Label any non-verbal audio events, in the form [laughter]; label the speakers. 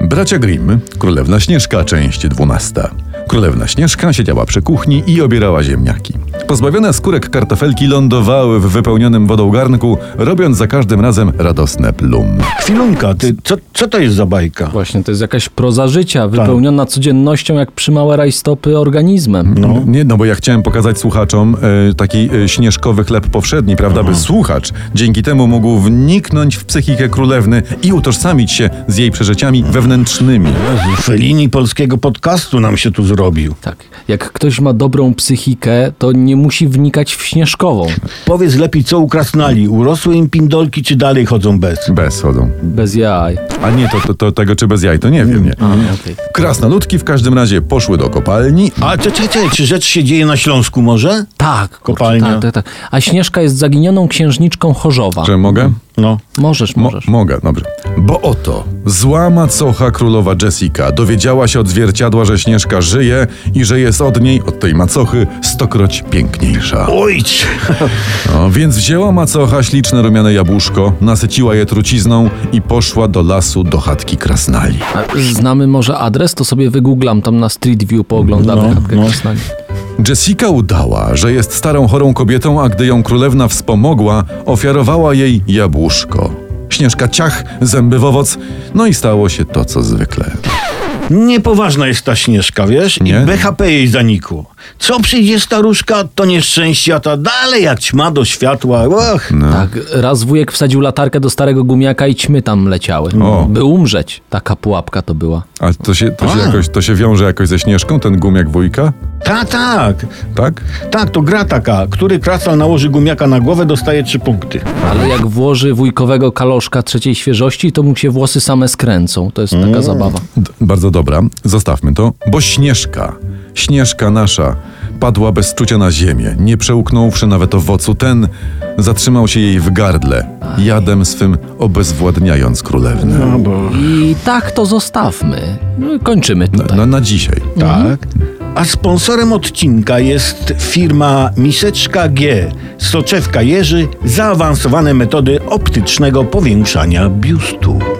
Speaker 1: Bracia Grimm, Królewna Śnieżka, część 12. Królewna Śnieżka siedziała przy kuchni i obierała ziemniaki. Pozbawione skórek kartofelki lądowały w wypełnionym wodą garnku, robiąc za każdym razem radosne plum.
Speaker 2: Chwilunka, ty, co, co to jest za bajka?
Speaker 3: Właśnie, to jest jakaś proza życia, wypełniona codziennością, jak przymałe rajstopy organizmem.
Speaker 2: Mhm.
Speaker 1: No. Nie, no bo ja chciałem pokazać słuchaczom e, taki e, śnieżkowy chleb powszedni, prawda, by słuchacz dzięki temu mógł wniknąć w psychikę królewny i utożsamić się z jej przeżyciami wewnętrznymi.
Speaker 2: Jezu, Felini polskiego podcastu nam się tu zrobił.
Speaker 3: Tak. Jak ktoś ma dobrą psychikę, to nie musi wnikać w śnieżkową.
Speaker 2: Powiedz lepiej, co ukrasnali? Urosły im pindolki, czy dalej chodzą bez?
Speaker 1: Bez chodzą.
Speaker 3: Bez jaj.
Speaker 1: A nie, to, to, to tego czy bez jaj, to nie wiem, nie.
Speaker 3: no.
Speaker 2: Mhm.
Speaker 1: Krasnoludki w każdym razie poszły do kopalni,
Speaker 2: A czekaj, czekaj, czy rzecz się dzieje na Śląsku może?
Speaker 3: Tak, kurczę,
Speaker 2: Kopalnia.
Speaker 3: Tak, tak, tak. A śnieżka jest zaginioną księżniczką Chorzowa.
Speaker 1: że mogę?
Speaker 2: No.
Speaker 3: Możesz,
Speaker 1: Mo-
Speaker 3: możesz.
Speaker 1: mogę, dobrze. Bo oto, zła macocha królowa Jessica dowiedziała się od zwierciadła, że Śnieżka żyje i że jest od niej, od tej macochy, stokroć piękniejsza.
Speaker 2: Oj,
Speaker 1: No, więc wzięła macocha śliczne rumiane jabłuszko, nasyciła je trucizną i poszła do lasu do chatki krasnali.
Speaker 3: A Znamy może adres, to sobie wygooglam tam na Street View, pooglądamy
Speaker 2: No,
Speaker 3: chatkę
Speaker 2: no.
Speaker 3: Krasnali.
Speaker 1: Jessica udała, że jest starą chorą kobietą, a gdy ją królewna wspomogła, ofiarowała jej jabłuszko. Śnieżka ciach, zęby w owoc, no i stało się to, co zwykle.
Speaker 2: [laughs] niepoważna jest ta Śnieżka, wiesz?
Speaker 1: Nie.
Speaker 2: I BHP jej zanikło. Co przyjdzie staruszka, to nieszczęście, a ta dalej jak ćma do światła. Och.
Speaker 3: Tak, raz wujek wsadził latarkę do starego gumiaka i ćmy tam leciały.
Speaker 1: O.
Speaker 3: By umrzeć. Taka pułapka to była.
Speaker 1: A to się, to się,
Speaker 2: A.
Speaker 1: jakoś, to się wiąże jakoś ze Śnieżką, ten gum jak wujka,
Speaker 2: Ta, tak.
Speaker 1: tak?
Speaker 2: Tak, to gra taka. Który krasal nałoży gumiaka na głowę, dostaje trzy punkty.
Speaker 3: Ale jak włoży wujkowego kaloszka trzeciej świeżości, to mu się włosy same skręcą. To jest taka zabawa.
Speaker 1: D- bardzo dobra, zostawmy to. Bo Śnieżka, Śnieżka nasza, padła bez czucia na ziemię, nie przełknąwszy nawet owocu. Ten zatrzymał się jej w gardle, jadem swym obezwładniając królewnę.
Speaker 2: No bo...
Speaker 3: I tak to zostawmy. No, Kończymy
Speaker 1: Na,
Speaker 3: tutaj.
Speaker 1: na, na dzisiaj.
Speaker 2: Tak. A sponsorem odcinka jest firma Miseczka G, Soczewka Jerzy, zaawansowane metody optycznego powiększania biustu.